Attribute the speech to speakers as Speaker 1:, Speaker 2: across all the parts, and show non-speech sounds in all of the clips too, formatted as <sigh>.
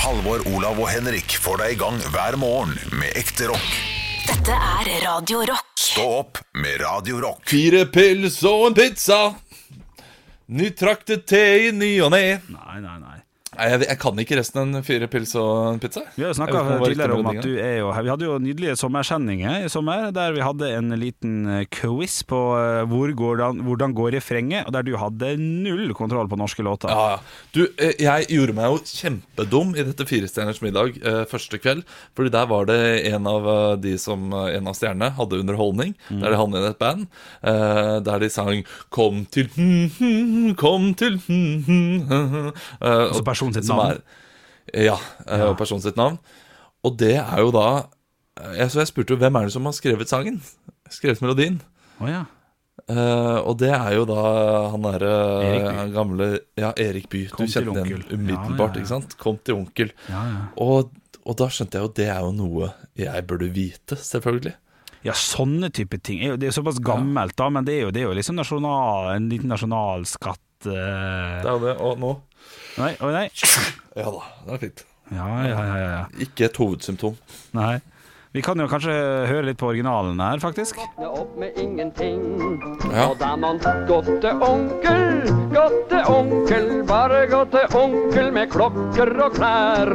Speaker 1: Halvor, Olav og Henrik får deg i gang hver morgen med ekte rock.
Speaker 2: Dette er Radio Rock.
Speaker 1: Stå opp med Radio Rock.
Speaker 3: Fire pils og en pizza. Nytraktet te i ny og ne.
Speaker 4: Nei, nei, nei.
Speaker 3: Nei, jeg, jeg kan ikke resten enn fire pils og en pizza.
Speaker 4: Vi har jo
Speaker 3: Jeg vet
Speaker 4: snakka
Speaker 3: ikke om det var riktig
Speaker 4: tidligere om at
Speaker 3: blanding,
Speaker 4: du
Speaker 3: ja.
Speaker 4: er jo her. Vi hadde jo nydelige sommersendinger i sommer, der vi hadde en liten eh, quiz på eh, hvor går det- hvordan går refrenget, og der du hadde null kontroll på norske låter.
Speaker 3: ja, ja. Du, eh, jeg gjorde meg jo kjempedum i dette Firestjerners middag eh, første kveld. Fordi der var det en av eh, de som eh, en av stjernene hadde underholdning.
Speaker 4: Mm.
Speaker 3: Der de hadde inn et band. eh, der de sang 'Kom til hm, hm, hm, kom til hm, hm, hm, hm». Eh, og-
Speaker 4: personen Altså sitt
Speaker 3: som
Speaker 4: navn.
Speaker 3: Er, ja, eh, og personen sitt navn. Og det er jo da eh, jeg, Så jeg spurte jo hvem er det som har skrevet sangen? Skrevet melodien?
Speaker 4: Å, ja.
Speaker 3: Eh, og det er jo da han derre
Speaker 4: Erik By.
Speaker 3: han gamle Ja, Erik By.
Speaker 4: Kom
Speaker 3: du
Speaker 4: til
Speaker 3: kjente den
Speaker 4: onkel.
Speaker 3: umiddelbart,
Speaker 4: Ja, ja, ja.
Speaker 3: ikke sant? Kom til onkel.
Speaker 4: Ja, ja.
Speaker 3: Og, og da skjønte jeg jo det er jo noe jeg burde vite, selvfølgelig.
Speaker 4: Ja, sånne type ting. er jo- Det er jo såpass gammelt, da, men det er jo, det er jo liksom nasjonal, en liten nasjonalskatt eh.
Speaker 3: Det er jo det. Og nå
Speaker 4: Nei, å nei.
Speaker 3: Ja da, det er fint.
Speaker 4: Ja, ja, ja, ja, ja.
Speaker 3: Ikke et hovedsymptom.
Speaker 4: Nei. Vi kan jo kanskje høre litt på originalen her, faktisk.
Speaker 5: våkne opp med ingenting.
Speaker 3: Ja.
Speaker 5: Og da man godte onkel, godte onkel, bare godte onkel med klokker og klær.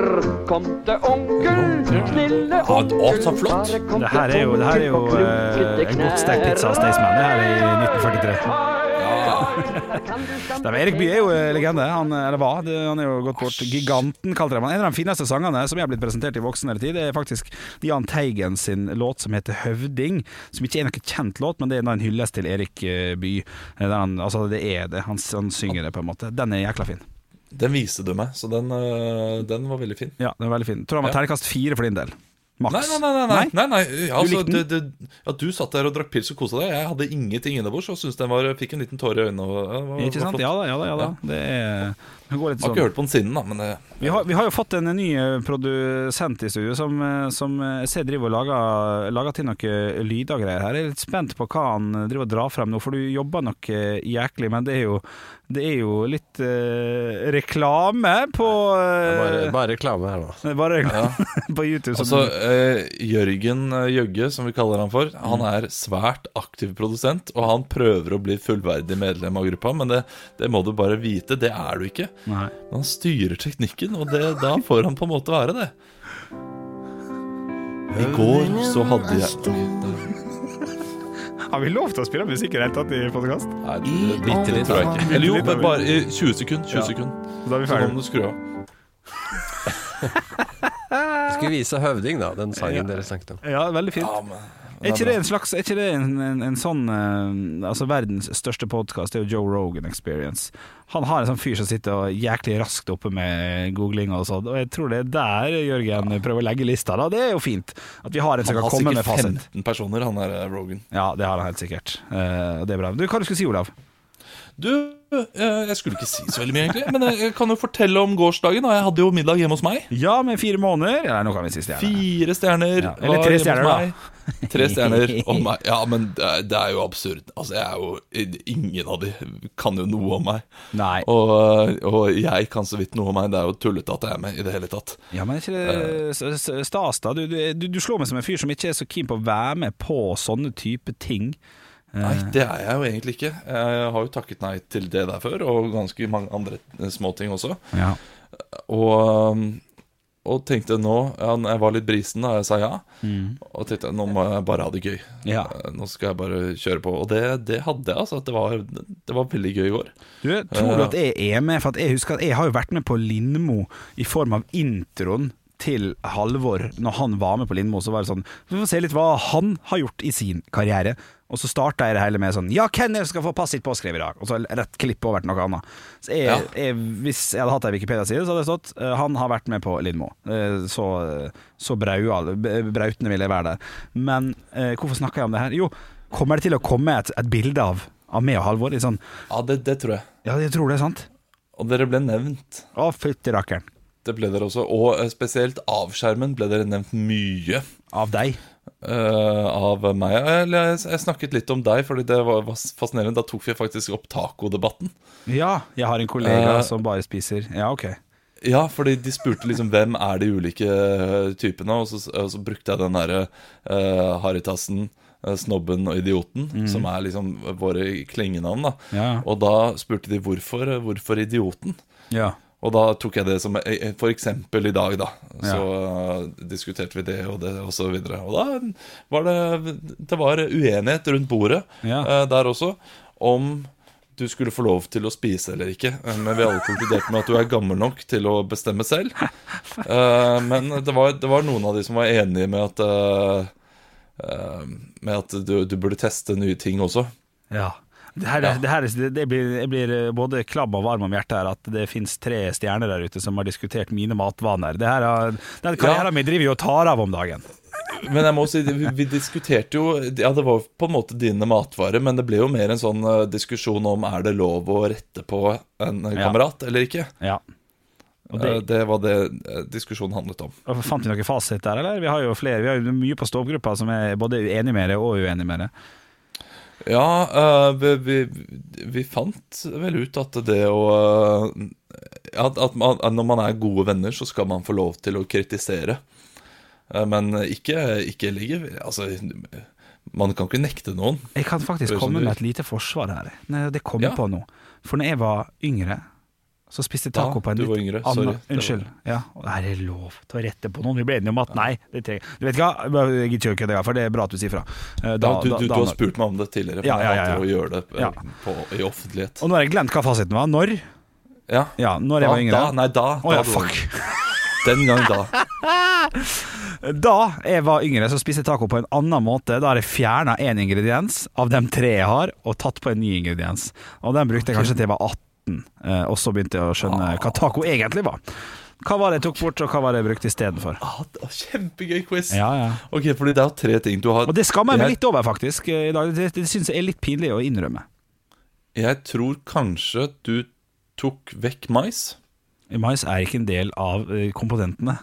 Speaker 5: Kom til onkel, snille
Speaker 3: Ja,
Speaker 5: onkel,
Speaker 3: å, så flott.
Speaker 5: bare kom
Speaker 4: Det her er jo, det her er jo
Speaker 5: og klunkete
Speaker 4: eh, en godt stekt
Speaker 5: knær.
Speaker 4: pizza av Staysman. Det her
Speaker 5: <laughs>
Speaker 4: er i 1943.
Speaker 5: Kan du
Speaker 4: Nei,
Speaker 5: stemme
Speaker 4: men Erik Bye er jo eh, legende. Han, eh, eller hva? Det- Han er jo gått bort. Giganten, kalte de han. En av de fineste sangene som jeg har blitt presentert i voksen tid, det er faktisk Jahn Teigen sin låt som heter 'Høvding'. Som ikke er noen kjent låt, men det er da en hyllest til Erik eh, Bye. Eh, Der han, altså, det er det. Han, han synger det, på en måte. Den er jækla fin.
Speaker 3: Den viste du meg, så den, øh, den var veldig fin.
Speaker 4: Ja, den er veldig fin. Tror han var terningkast fire for din del. Maks.
Speaker 3: Nei, nei, nei. nei, nei, nei, nei. Altså,
Speaker 4: likte
Speaker 3: du, du, ja, du satt der og drakk pils og kosa deg. Jeg hadde ingenting innebords og syntes den var, fikk en liten tåre i øynene. Og, ja, det var,
Speaker 4: Ikke sant?
Speaker 3: var flott.
Speaker 4: Ja da, ja da. Ja, da. Det er det går litt
Speaker 3: Jeg har
Speaker 4: sånn.
Speaker 3: ikke hørt på den siden, da, men det
Speaker 4: Vi har, vi har jo fått en ny eh, produsent i studio som, eh, som eh, jeg ser driver og lager, lager til noe lyd og greier her. Jeg er litt spent på hva han driver og drar frem nå, for du jobber nok eh, jæklig, men det er jo, det er jo litt eh, reklame på eh,
Speaker 6: Bare, bare reklame her nå.
Speaker 4: det er <laughs> bare reklame på YouTube.
Speaker 3: Altså,
Speaker 4: Som,
Speaker 3: eh, Jørgen eh, Jøgge, som vi kaller han for, han
Speaker 4: Mm.
Speaker 3: er svært aktiv produsent, og han prøver å bli fullverdig medlem av gruppa, men det, det må du bare vite, det er du ikke.
Speaker 4: nei.
Speaker 3: Men han styrer teknikken, og det, da får han på en måte være det. I går så hadde jeg
Speaker 4: Har vi lov til å spille musikk i det hele tatt i podkast?
Speaker 3: Nei, det- bitte litt tror jeg ikke. Eller jo, men bare i 20 sekunder. 20
Speaker 4: Ja.
Speaker 3: sekunder.
Speaker 4: Da er vi
Speaker 3: Så nå
Speaker 4: ferdige.
Speaker 3: må du skru av.
Speaker 6: Jeg skulle vise Høvding, da, den sangen dere snakket om.
Speaker 4: Ja, veldig fint. Er ikke det en slags Er ikke det en, en, en sånn eh, Altså verdens største podkast er jo Joe Rogan Experience. Han har en sånn fyr som sitter og jæklig raskt oppe med googling og sånn, og jeg tror det er der Jørgen prøver å legge lista, da. Det er jo fint. At vi har en som
Speaker 3: Han
Speaker 4: kan
Speaker 3: har
Speaker 4: komme med
Speaker 3: sikkert
Speaker 4: fasit.
Speaker 3: 15 personer, han er eh, Rogan.
Speaker 4: Ja, det har han helt sikkert. Eh, og det er bra. Du, hva du skulle du si, Olav?
Speaker 3: Du, eh, jeg skulle ikke si så veldig mye egentlig Men eh, jeg jeg kan jo fortelle om gårsdagen da. Jeg hadde jo middag hjemme hos meg
Speaker 4: Ja, med fire måneder Nei, nå kan vi si stjerne.
Speaker 3: Fire stjerner
Speaker 4: Ja,
Speaker 3: var
Speaker 4: eller tre
Speaker 3: hjemme hos
Speaker 4: stjerner, da.
Speaker 3: meg. Tre
Speaker 4: <laughs>
Speaker 3: stjerner om meg Ja, men det er, det er jo absurd Altså, jeg er jo Ingen av de kan jo noe om meg
Speaker 4: Nei.
Speaker 3: og, eh, og jeg kan så vidt noe om meg Det er jo tullet at jeg er med i det hele tatt
Speaker 4: Ja, men er ikke det s- s- stas, da? Du, du, du slår meg som en fyr som ikke er så keen på å være med på sånne type ting.
Speaker 3: Nei, det er jeg jo egentlig ikke Jeg har jo takket nei til det der før Og ganske mange andre eh, småting også
Speaker 4: Ja.
Speaker 3: Og, um, og tenkte nå ja, Jeg var litt brisen da jeg sa ja. Og tenkte nå må jeg bare ha det gøy. Eh,
Speaker 4: Ja.
Speaker 3: Nå skal jeg bare kjøre på. Og det, det hadde jeg. altså at det var, det var veldig gøy i går.
Speaker 4: Du, tror du at jeg er med? For at jeg husker at jeg har jo vært med på Lindmo i form av introen til Halvor. Når han var med på Lindmo, så var det sånn Vi får se litt hva han har gjort i sin karriere. Og så starta jeg det hele med sånn Ja, hvem er det som skal få passet sitt påskrevet i dag? Og så rett klipp over til noe annet. Så jeg,
Speaker 3: Ja.
Speaker 4: jeg, hvis jeg hadde hatt ei Wikipedia-side, så hadde det stått eh, Han har vært med på Lindmo. Eh, Så, så braual- b- brautende vil jeg være der. Men eh, hvorfor snakker jeg om det her? Jo, kommer det til å komme et, et bilde av, av meg og Halvor? Litt sånn
Speaker 3: Ja, det, det tror jeg.
Speaker 4: Ja, jeg tror det er sant.
Speaker 3: Og dere ble nevnt.
Speaker 4: Å, fytti rakkeren.
Speaker 3: Det ble dere også. Og eh, spesielt avskjermen ble dere nevnt mye.
Speaker 4: Av deg.
Speaker 3: eh, av meg Eller jeg, jeg snakket litt om deg, Fordi det var, var fascinerende. Da tok vi faktisk opp tacodebatten.
Speaker 4: Ja, jeg har en kollega
Speaker 3: Eh.
Speaker 4: som bare spiser Ja, ok.
Speaker 3: Ja, fordi de spurte liksom hvem er de ulike eh, typene, og så, og så brukte jeg den derre eh, Haritasen, eh, Snobben og Idioten, som er liksom våre klengenavn. da
Speaker 4: Ja.
Speaker 3: Og da spurte de hvorfor, eh, hvorfor Idioten?
Speaker 4: Ja.
Speaker 3: Og da tok jeg det som eh, eh, For eksempel i dag, da. Så eh, diskuterte vi det og det og så videre. Og da var det Det var uenighet rundt bordet
Speaker 4: Ja.
Speaker 3: eh, der også om du skulle få lov til å spise eller ikke. Eh, Men vi alle konkluderte med at du er gammel nok til å bestemme selv. Eh, Men det var, det var noen av de som var enige med at eh, eh, Med at du, du burde teste nye ting også.
Speaker 4: Ja. Det her, det her, det, det blir, jeg blir eh, både klabb og varm om hjertet her at det finnes tre stjerner der ute som har diskutert mine matvaner. Det her er, den karrieren
Speaker 3: Ja.
Speaker 4: min driver jo og tar av om dagen.
Speaker 3: Men jeg må si, vi, vi diskuterte jo Ja, det var jo på en måte dine matvarer, men det ble jo mer en sånn eh, diskusjon om er det lov å rette på en eh,
Speaker 4: Ja.
Speaker 3: kamerat eller ikke.
Speaker 4: Ja. Og
Speaker 3: Det, det var det eh, diskusjonen handlet om.
Speaker 4: Og Fant vi noen fasit der, eller? Vi har jo flere, vi har jo mye på ståpgruppa som er både enig med det og uenig med det.
Speaker 3: Ja, eh, vi, vi, vi fant vel ut at det å eh, at, at, man, at når man er gode venner, så skal man få lov til å kritisere. Eh, Men ikke, ikke ligge Altså, man kan ikke nekte noen.
Speaker 4: Jeg kan faktisk
Speaker 3: Det er sånn
Speaker 4: komme
Speaker 3: du-
Speaker 4: med et lite forsvar her. Nei, det kom jeg
Speaker 3: Ja.
Speaker 4: på nå. For når jeg var yngre, så spiste jeg taco
Speaker 3: Ja,
Speaker 4: på en
Speaker 3: du
Speaker 4: litt
Speaker 3: var yngre, sorry. Det
Speaker 4: annen
Speaker 3: var-
Speaker 4: Unnskyld. Ja, og er det lov til å rette på noen? Vi ble enige om at nei, det trenger Du vet hva, jeg gidder ikke å kødde, for det er bra at du sier fra.
Speaker 3: Da,
Speaker 4: Eh, da-
Speaker 3: du,
Speaker 4: da-
Speaker 3: du, du
Speaker 4: da-
Speaker 3: har spurt meg om det tidligere, for
Speaker 4: Ja, ja,
Speaker 3: jeg
Speaker 4: ja,
Speaker 3: hater å
Speaker 4: ja.
Speaker 3: gjøre det eh,
Speaker 4: Ja.
Speaker 3: på, i offentlighet.
Speaker 4: Og nå har jeg glemt hva fasiten var. Når?
Speaker 3: Ja.
Speaker 4: Ja, når
Speaker 3: da,
Speaker 4: jeg var yngre.
Speaker 3: da, nei, da,
Speaker 4: Å ja,
Speaker 3: da-
Speaker 4: fuck.
Speaker 3: Den gang da.
Speaker 4: Da jeg var yngre, så spiste jeg taco på en annen måte. Da har jeg fjerna én ingrediens av de tre jeg har, og tatt på en ny ingrediens. Og den brukte jeg kanskje til jeg var 18, eh, og så begynte jeg å skjønne hva taco egentlig var. Hva var det jeg tok bort, og hva var det jeg brukte istedenfor?
Speaker 3: Ah, det var kjempegøy quiz.
Speaker 4: Ja, ja.
Speaker 3: Ok, fordi det er jo tre ting du har
Speaker 4: Og det skammer jeg meg
Speaker 3: Jeg-
Speaker 4: litt over, faktisk. eh, i dag. Det, det syns jeg er litt pinlig å innrømme.
Speaker 3: Jeg tror kanskje du tok vekk mais.
Speaker 4: Mais er ikke en del av eh, komponentene.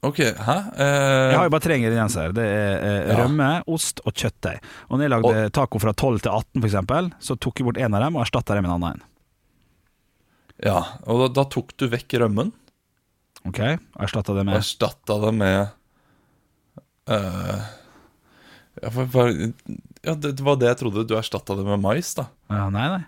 Speaker 3: Ok, hæ? Eh,
Speaker 4: Jeg har jo bare tre ingredienser. Det er eh,
Speaker 3: Ja.
Speaker 4: rømme, ost og kjøttdeig. Og når jeg lagde taco fra 12 til 18, for eksempel, så tok jeg bort en av dem og erstatta det med en annen. en.
Speaker 3: Ja, og da, da tok du vekk rømmen
Speaker 4: Ok, Erstatta det
Speaker 3: og
Speaker 4: med
Speaker 3: erstatta det med eh, ja, for, for, ja, det, det var det jeg trodde. Du erstatta det med mais, da.
Speaker 4: Ja, nei, nei.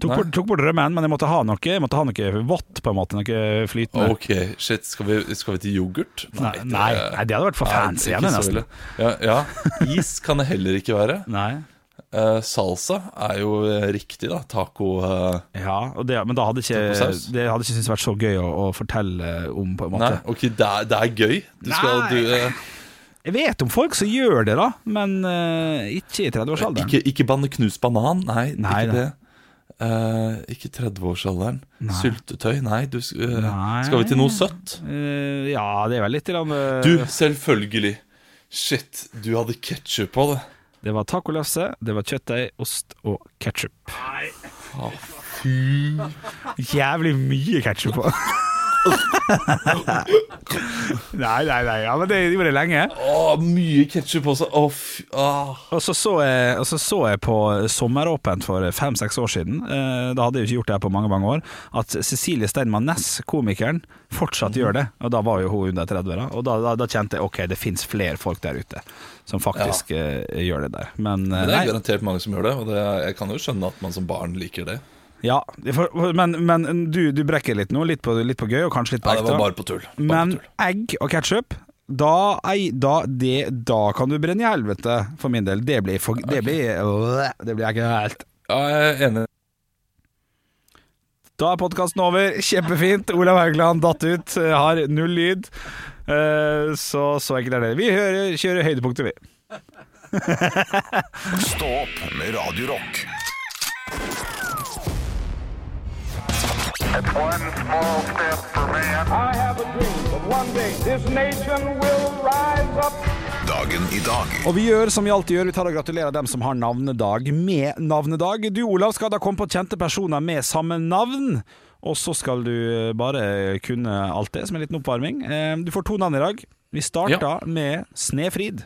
Speaker 4: Tok,
Speaker 3: Nei.
Speaker 4: Bort, tok bort rømmen, men jeg måtte ha noe Jeg måtte ha noe vått, på en måte. Noe flytende.
Speaker 3: Ok, shit, skal vi, skal vi til yoghurt?
Speaker 4: nei, nei, nei, det hadde vært for fancy.
Speaker 3: Nei,
Speaker 4: jeg altså?
Speaker 3: ikke så
Speaker 4: mener nesten.
Speaker 3: ille. Ja, ja. Is kan det heller ikke være.
Speaker 4: Nei.
Speaker 3: Eh, salsa er jo eh, riktig, da. Taco eh,
Speaker 4: Ja, og det, men da hadde ikke
Speaker 3: Tacosaus?
Speaker 4: det hadde ikke syntes vært så gøy å, å fortelle om, på en
Speaker 3: Nei,
Speaker 4: måte.
Speaker 3: ok, det er, det er gøy. Du skal,
Speaker 4: Nei.
Speaker 3: du, eh,
Speaker 4: Jeg vet om folk som gjør det, da, men eh, ikke i 30-årsalderen.
Speaker 3: ikke, ikke banne knust banan. Nei,
Speaker 4: Nei,
Speaker 3: ikke
Speaker 4: da.
Speaker 3: det. Eh, ikke 30-årsalderen. Syltetøy. Nei, du, sk- eh,
Speaker 4: Nei.
Speaker 3: skal vi til noe søtt?
Speaker 4: Eh, ja, det er vel litt grann, eh,
Speaker 3: Du, selvfølgelig. Shit, du hadde ketsjup på det.
Speaker 4: Det var tacolefse, det var kjøttdeig, ost og ketsjup. Jævlig mye ketsjup på. nei, nei, nei. Ja, men det gjorde jeg lenge.
Speaker 3: Å, mye ketsjup også. Å, fy ah.
Speaker 4: Og så så jeg, og så, så jeg på Sommeråpent for fem-seks år siden, eh, da hadde jeg jo ikke gjort det her på mange mange år, at Cecilie Steinmann Næss, komikeren, fortsatt gjør det. Og da var jo hun under 30, da. Og da, da, da kjente jeg ok, det fins flere folk der ute som faktisk eh, gjør det der. Men, eh,
Speaker 3: Men Det
Speaker 4: nei.
Speaker 3: er garantert mange som gjør det, og det, jeg kan jo skjønne at man som barn liker det.
Speaker 4: Ja, for, men, men du, du brekker litt nå. Litt på, litt på gøy og kanskje litt på
Speaker 3: Ja, det
Speaker 4: ekte.
Speaker 3: var bare på tull. Bare
Speaker 4: men
Speaker 3: på tull.
Speaker 4: egg og ketsjup da, ei- da, det- da kan du brenne i helvete, for min del. Det blir, for, det blir, øh, det blir ekkelt.
Speaker 3: Ja, jeg er enig.
Speaker 4: Da er podkasten over. Kjempefint. Olav Haugland datt ut. Har null lyd. Eh, Så så enkelt er det. Vi hører, kjører høydepunktet, vi.
Speaker 1: Stå opp med Radio Rock.
Speaker 5: I have a dream that one day this nation will rise up.
Speaker 1: Dagen i dag.
Speaker 4: Og vi gjør som vi alltid gjør, vi tar og gratulerer dem som har navnedag med navnedag. Du Olav skal da komme på kjente personer med samme navn. Og så skal du eh, bare kunne alt det, som en liten oppvarming. Eh, Du får to navn i dag. Vi starter
Speaker 3: Ja.
Speaker 4: med Snefrid.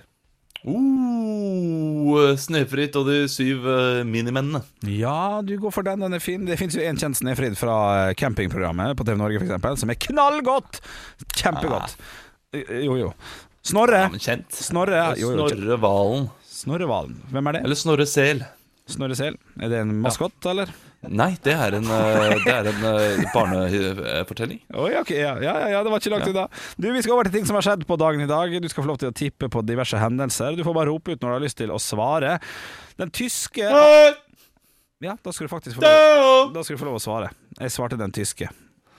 Speaker 3: Oh, Snefrit og de syv eh, minimennene.
Speaker 4: Ja, du går for den. Den er fin. Det fins jo en kjent Snefrid fra eh, campingprogrammet på TV Norge, f.eks., som er knallgodt! Kjempegodt. Eh, Jo, jo. Snorre.
Speaker 3: Ah. Ja, men kjent.
Speaker 4: Snorre jo, jo.
Speaker 3: Snorre Valen.
Speaker 4: Snorre Valen. Hvem er det?
Speaker 3: Eller Snorre Sel.
Speaker 4: Snorre Sel? Er det en maskott, eller?
Speaker 3: Nei, det er en, eh, det er en eh, barnefortelling.
Speaker 4: Oi, ok, ja, ja, ja, ja, det var ikke langt unna. Du, Vi skal over til ting som har skjedd på dagen i dag. Du skal få lov til å tippe på diverse hendelser. Du får bare rope ut når du har lyst til å svare. Den tyske Ja, da skal du faktisk få lov, da skal du få lov å svare. Jeg svarte den tyske.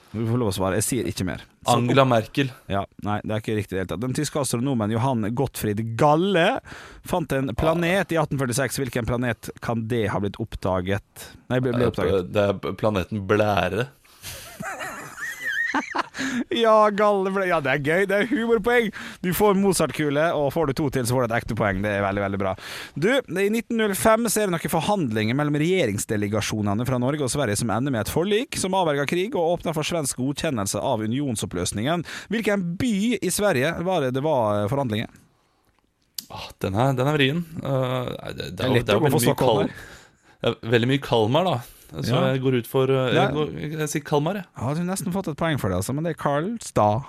Speaker 4: Du får lov å svare. Jeg sier ikke mer. Så-
Speaker 3: Angela Merkel.
Speaker 4: Ja, nei, det er ikke riktig i det hele tatt. Den tyske astronomen Johan Gottfried Galle fant en planet i 1846. Hvilken planet kan det ha blitt oppdaget? Nei, ble,
Speaker 7: Eh,
Speaker 4: ble oppdaget.
Speaker 3: Det er planeten Blære.
Speaker 4: Ja, Galle ble Ja, det er gøy. Det er humorpoeng. Du får Mozart-kule, og får du to til, så får du et ekte poeng. Det er veldig, veldig bra. Du, i 1905 så er det noen forhandlinger mellom regjeringsdelegasjonene fra Norge og Sverige som ender med et forlik som avverger krig og åpner for svensk godkjennelse av unionsoppløsningen. Hvilken by i Sverige var det det var eh, forhandlinger?
Speaker 3: Ah, den, er, den er vrien. Eh, nei, det, det,
Speaker 4: er lett
Speaker 3: det
Speaker 4: å gå for
Speaker 3: veldig mye
Speaker 4: Stockholm
Speaker 3: Kal- Det er veldig mye Kalmar, da. Så
Speaker 4: Ja.
Speaker 3: jeg går ut for eh,
Speaker 4: Ja.
Speaker 3: jeg, går, jeg sier Kalmar, jeg.
Speaker 4: Jeg hadde nesten fått et poeng for det, altså, men det er Karlstad.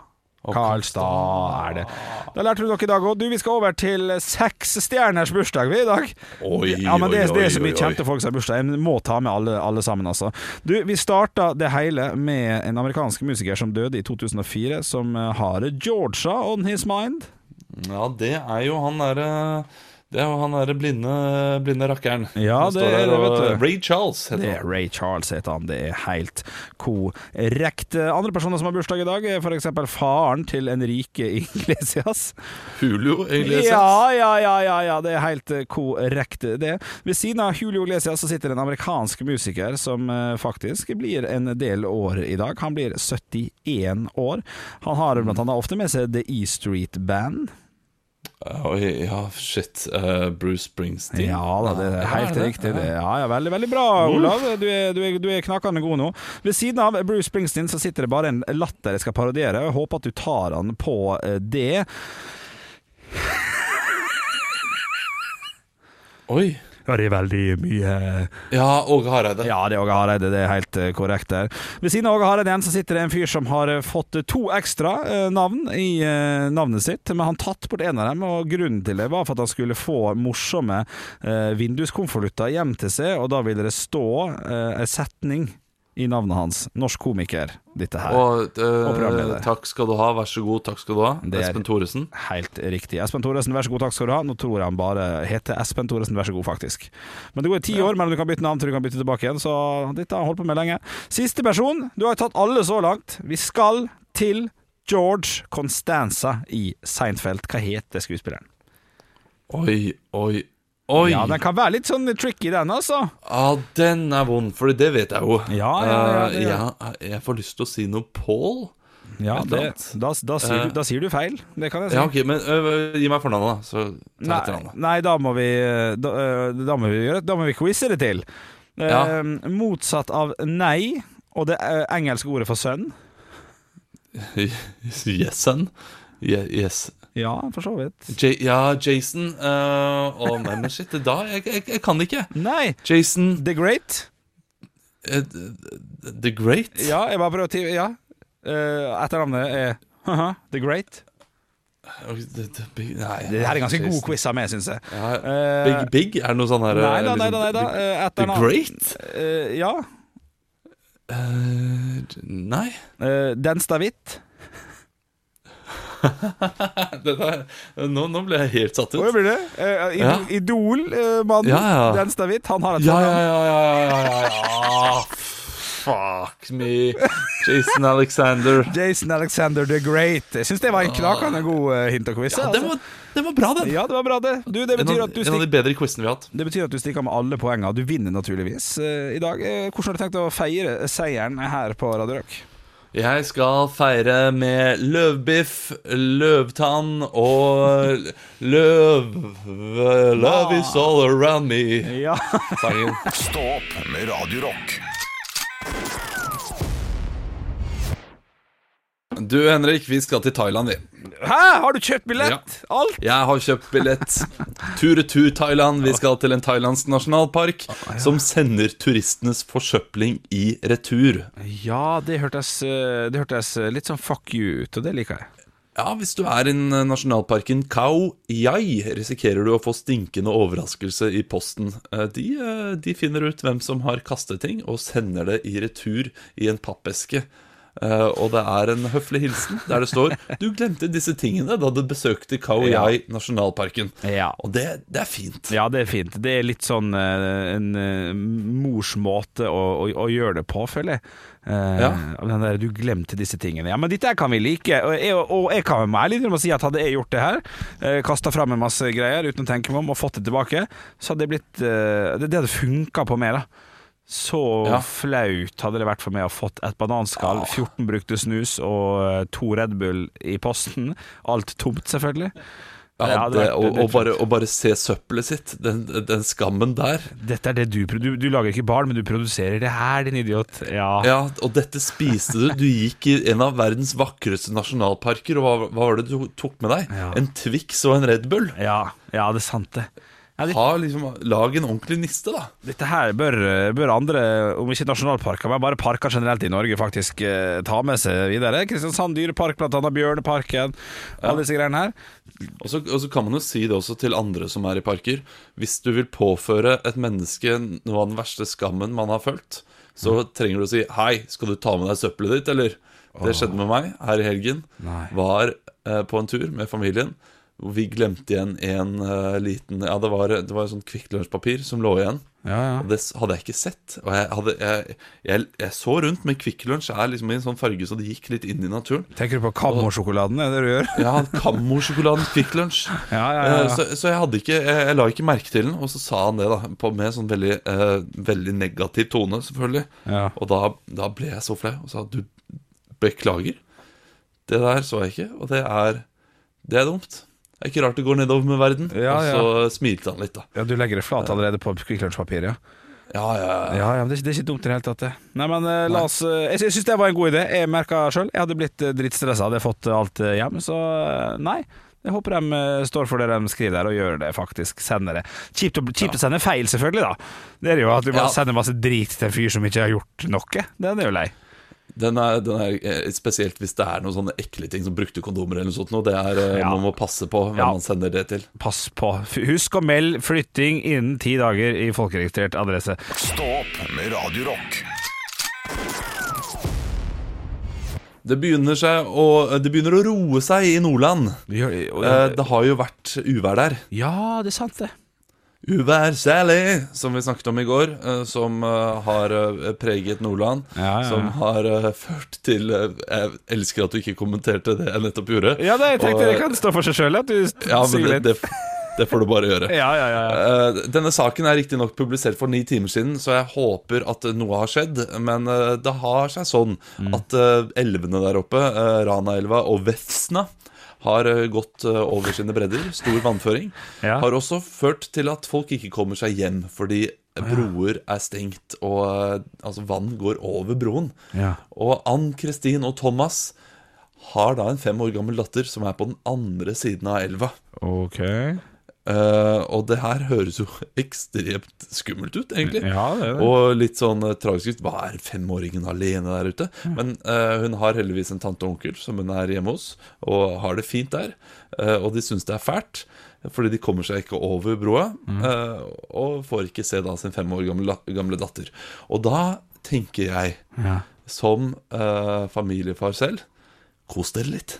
Speaker 3: Og
Speaker 4: Karlstad er det. Da lærte du dere i dag òg. Du, vi skal over til seks stjerners bursdag vi i dag.
Speaker 3: Oi,
Speaker 4: ja, men det,
Speaker 3: oi,
Speaker 4: det
Speaker 3: oi,
Speaker 4: er så mye
Speaker 3: oi, oi.
Speaker 4: kjente folk som har bursdag. En må ta med alle, alle sammen, altså. Du, vi starta det hele med en amerikansk musiker som døde i 2004, som eh, har Georgia on his mind.
Speaker 3: Ja, det er jo han derre det er jo han derre blinde, blinde rakkeren.
Speaker 4: Ja,
Speaker 3: Han
Speaker 4: det
Speaker 3: står
Speaker 4: er
Speaker 3: der
Speaker 4: det,
Speaker 3: og-
Speaker 4: vet du.
Speaker 3: Ray Charles
Speaker 4: Det
Speaker 3: heter han.
Speaker 4: er Ray Charles heter han, det er helt korrekt. Andre personer som har bursdag i dag, er f.eks. faren til Enrique <laughs> Iglesias.
Speaker 3: Julio Iglesias.
Speaker 4: Ja, ja, ja, ja, ja, det er helt eh, korrekt det. Ved siden av Julio Iglesias så sitter en amerikansk musiker som eh, faktisk blir en del år i dag. Han blir 71 år. Han har blant annet ofte med seg The E Street Band.
Speaker 3: Oi, ja, shit. Eh, Bruce Springsteen.
Speaker 4: Ja da, det er helt
Speaker 3: det?
Speaker 4: riktig. Det. Ja, ja, veldig, veldig bra, Olav. Du er, du, er, du er knakende god nå. Ved siden av Bruce Springsteen så sitter det bare en latter jeg skal parodiere. Jeg håper at du tar han på eh, det.
Speaker 3: Oi.
Speaker 4: Ja, det er veldig mye
Speaker 3: Ja, Åge Hareide.
Speaker 4: Ja, det er Åge Hareide, det er helt eh, korrekt der. Ved siden av Åge Hareide igjen så sitter det en fyr som har eh, fått to ekstra eh, navn i eh, navnet sitt, men han tatt bort en av dem, og grunnen til det var for at han skulle få morsomme eh, vinduskonvolutter hjem til seg, og da ville det stå eh, en setning i navnet hans. Norsk komiker, dette her.
Speaker 3: Og, eh,
Speaker 4: programleder.
Speaker 3: takk skal du ha, vær så god, takk skal du ha.
Speaker 4: Det er-
Speaker 3: Espen Thoresen.
Speaker 4: Helt riktig. Espen Thoresen, vær så god, takk skal du ha. Nå tror jeg han bare heter Espen Thoresen, vær så god, faktisk. Men det går i ti år mellom du kan bytte navn til du kan bytte tilbake igjen, så dette har han holdt på med lenge. Siste person. Du har jo tatt alle så langt. Vi skal til George Constanza i Seinfeld. Hva heter skuespilleren?
Speaker 3: Oi, oi, oi.
Speaker 4: Ja, den kan være litt sånn tricky, den, altså.
Speaker 3: Ja, den er vond, for det vet jeg jo.
Speaker 4: Ja, ja, ja, det-
Speaker 3: Eh, jeg, jeg får lyst til å si noe Paul.
Speaker 4: Ja,
Speaker 3: det-
Speaker 4: det, da, da, sier du, da sier du feil. Det kan jeg si.
Speaker 3: Ja, ok, men eh, gi meg fornavnet, da. Så tar jeg
Speaker 4: Nei,
Speaker 3: etternavnet. <laughs>
Speaker 4: nei da, må vi, da, øh, da må vi gjøre Da må vi quize det til. Eh,
Speaker 3: Ja.
Speaker 4: motsatt av nei og det eh, engelske ordet for sønn.
Speaker 3: Yesen. Ye- Yes.
Speaker 4: Ja, for så vidt.
Speaker 3: J ja, Jason. eh, Å, nei, men shit, det da jeg, jeg, jeg kan det ikke.
Speaker 4: Nei!
Speaker 3: Jason
Speaker 4: The Great.
Speaker 3: eh, The Great.
Speaker 4: Ja, jeg bare prøver å ti- Ja. Eh, etternavnet er haha, The Great.
Speaker 3: Ok, the- the big- Nei,
Speaker 4: Det her er ganske god
Speaker 3: Jason.
Speaker 4: quiz av meg, syns jeg.
Speaker 3: Ja,
Speaker 4: Eh,
Speaker 3: Big Big? Er det noe sånn her
Speaker 4: nei da,
Speaker 3: eh,
Speaker 4: nei da. Nei da.
Speaker 3: liksom,
Speaker 4: Eh,
Speaker 3: The
Speaker 4: etternavn-
Speaker 3: Great?
Speaker 4: Eh, ja.
Speaker 3: Eh, nei.
Speaker 4: Eh, Denstavitt.
Speaker 3: Det der, nå, nå ble jeg helt satt ut.
Speaker 4: Hvor blir det? Eh, Idol,
Speaker 3: Ja.
Speaker 4: Idol-mannen
Speaker 3: Ja, ja.
Speaker 4: Denstavitt. Han har et
Speaker 3: Ja,
Speaker 4: fornavn.
Speaker 3: ja, ja, ja, ja, ja, ja. Ah, Fuck me. Jason Alexander.
Speaker 4: Jason Alexander the Great. Jeg syns det var en knakende god eh, hint og quiz.
Speaker 3: Ja,
Speaker 4: altså.
Speaker 3: den var, den var bra, den.
Speaker 4: ja, det var bra, det. Du, det,
Speaker 3: En
Speaker 4: betyr
Speaker 3: av,
Speaker 4: at du
Speaker 3: en av de
Speaker 4: stikk,
Speaker 3: bedre quizene vi har hatt.
Speaker 4: det betyr at du stikker med alle poengene. Du vinner naturligvis eh, i dag. Eh, hvordan har du tenkt å feire seieren her på Radio Rock?
Speaker 3: Jeg skal feire med løvbiff, løvtann og løv... Love is all around me.
Speaker 4: Ja.
Speaker 3: Sangen.
Speaker 1: Stå opp med Radio Rock.
Speaker 3: Du, Henrik, vi skal til Thailand, vi.
Speaker 4: <laughs> Hæ, har du kjøpt billett? Alt?
Speaker 3: Jeg har kjøpt billett. Tur-retur Thailand. Vi skal til en thailandsk nasjonalpark som sender turistenes forsøpling i retur.
Speaker 4: Ja, det hørtes, eh, det hørtes eh, litt sånn fuck you ut, og det liker jeg.
Speaker 3: Ja, hvis du er i eh, nasjonalparken Khao Yai, risikerer du å få stinkende overraskelse i posten. Eh, De, eh, de finner ut hvem som har kastet ting, og sender det i retur i en pappeske. Eh, Og det er en høflig hilsen der det står 'Du glemte disse tingene da du besøkte Khao Yai nasjonalparken'.
Speaker 4: Ja.
Speaker 3: Og det, det er fint.
Speaker 4: Ja, det er fint. Det er litt sånn eh, en eh, mors måte å, å, å gjøre det på, føler jeg. Eh,
Speaker 3: Ja.
Speaker 4: Den der, du glemte disse tingene. Ja, men dette her kan vi like. Og jeg, og jeg kan være meg litt med å si at hadde jeg gjort det her, uh, kasta fram en masse greier uten å tenke meg om og fått det tilbake, så hadde det blitt eh, Det, det hadde funka på meg, da. Så
Speaker 3: Ja. Ah.
Speaker 4: flaut hadde det vært for meg å fått et bananskall, 14 brukte snus og eh, to Red Bull i posten. Alt tomt, selvfølgelig.
Speaker 3: Ja,
Speaker 4: Ja, det
Speaker 3: det,
Speaker 4: er-
Speaker 3: eh, og,
Speaker 4: det er
Speaker 3: og, bare, og bare se søppelet sitt. Den, den skammen der.
Speaker 4: Dette er det du produ- Du, du lager ikke barn, men du produserer det her, din idiot. Ja.
Speaker 3: Ja, Og dette spiste du. Du gikk i en av verdens vakreste nasjonalparker, og hva, hva var det du tok med deg?
Speaker 4: Ja.
Speaker 3: En Twix og en Red Bull?
Speaker 4: ja. ja, det er sant, det. Ja, det
Speaker 3: Ha, liksom, lag en ordentlig niste, da.
Speaker 4: dette her bør, bør andre, om ikke nasjonalparker, men bare parker generelt i Norge, faktisk eh, ta med seg videre. Kristiansand dyrepark, blant annet Bjørneparken, alle disse greiene her.
Speaker 3: Og så, og så kan man jo si det også til andre som er i parker. Hvis du vil påføre et menneske noe av den verste skammen man har følt, så
Speaker 4: Mhm.
Speaker 3: trenger du å si 'Hei, skal du ta med deg søppelet ditt', eller? Det skjedde med meg her i helgen. Var eh, på en tur med familien. hvor Vi glemte igjen en eh, liten Ja, det var, det var sånn Kvikk Lunsj-papir som lå igjen.
Speaker 4: Ja, ja.
Speaker 3: Og det s- hadde jeg ikke sett. Og jeg, hadde, jeg, jeg, jeg så rundt, men Kvikk Lunsj er liksom i en sånn farge så det gikk litt inn i
Speaker 4: <laughs>
Speaker 3: naturen.
Speaker 4: Tenker du på Kammo-sjokoladen, er det det du gjør?
Speaker 3: Ja, Kammo-sjokoladen Kvikk Lunsj.
Speaker 4: Ja, ja, ja, ja.
Speaker 3: Eh, Så, så jeg hadde ikke jeg, jeg la ikke merke til den, og så sa han det, da. På, med sånn veldig, eh, veldig negativ tone, selvfølgelig.
Speaker 4: Ja.
Speaker 3: Og da, da ble jeg så flau og sa du beklager. Det der så jeg ikke, og det er Det er dumt. Det er ikke rart det går nedover med verden.
Speaker 4: Ja,
Speaker 3: og så smilte han litt, da.
Speaker 4: Ja, du legger det flat allerede på Kvikk Lunsj-papir, ja.
Speaker 3: Ja, ja, ja.
Speaker 4: Ja, ja, men det er, ikke- det er ikke dumt i det hele tatt, det. Nei, men eh, la oss eh, Jeg, sy- jeg syns det var en god idé. Jeg merka sjøl. Jeg hadde blitt eh, drittstressa, hadde jeg fått eh, alt eh, hjem. Så eh, nei. Jeg håper de eh, står for det de skriver der, og gjør det, faktisk. Sender det. Kjipt å, kjipt å sende feil, selvfølgelig, da. Det er jo at vi bare
Speaker 3: Ja.
Speaker 4: sender masse drit til en fyr som ikke har gjort noe. Den er jo lei.
Speaker 3: Den er, den er eh, Spesielt hvis det er noen sånne ekle ting som brukte kondomer eller noe sånt. Og det er eh,
Speaker 4: Ja.
Speaker 3: Man må passe på hvem
Speaker 4: Ja.
Speaker 3: man sender det til.
Speaker 4: Pass på. F- Husk å melde flytting innen ti dager i folkeregistrert adresse.
Speaker 1: Stå opp med Radio Rock.
Speaker 3: Det begynner, seg å, det begynner å roe seg i Nordland. Eh,
Speaker 4: Eh,
Speaker 3: Det har jo vært uvær der.
Speaker 4: Ja, det er sant, det.
Speaker 3: Uvær særlig, som vi snakket om i går, eh, som eh, har eh, preget Nordland.
Speaker 4: Ja, ja, ja.
Speaker 3: Som har eh, ført til eh, Jeg elsker at du ikke kommenterte det jeg nettopp gjorde.
Speaker 4: Ja, nei, jeg tenkte
Speaker 3: Og,
Speaker 4: det kan stå for seg sjøl, at du
Speaker 3: ja, men det,
Speaker 4: sier litt.
Speaker 3: det, det får du bare gjøre.
Speaker 4: Ja, ja, ja. ja.
Speaker 3: Eh, Denne saken er riktignok publisert for ni timer siden, så jeg håper at noe har skjedd. Men eh, det har seg sånn
Speaker 4: Mm.
Speaker 3: at eh, elvene der oppe, eh, Ranaelva og Vefsna, har eh, gått eh, over sine bredder. Stor vannføring.
Speaker 4: Ja.
Speaker 3: Har også ført til at folk ikke kommer seg hjem fordi broer er stengt, og eh, altså vann går over broen.
Speaker 4: Ja.
Speaker 3: Og Ann Kristin og Thomas har da en fem år gammel datter som er på den andre siden av elva.
Speaker 4: Ok
Speaker 3: Eh, og det her høres jo <laughs> ekstremt skummelt ut, egentlig.
Speaker 4: Ja, det er det.
Speaker 3: Og litt sånn eh, tragisk ut. Hva er femåringen alene der ute?
Speaker 4: Mm.
Speaker 3: Men eh, hun har heldigvis en tante og onkel som hun er hjemme hos, og har det fint der. Eh, og de syns det er fælt, fordi de kommer seg ikke over broa,
Speaker 4: Mm.
Speaker 3: eh, og får ikke se da sin fem år gamle, gamle datter. Og da tenker jeg, som eh, familiefar selv, kos dere
Speaker 4: <laughs>
Speaker 3: litt.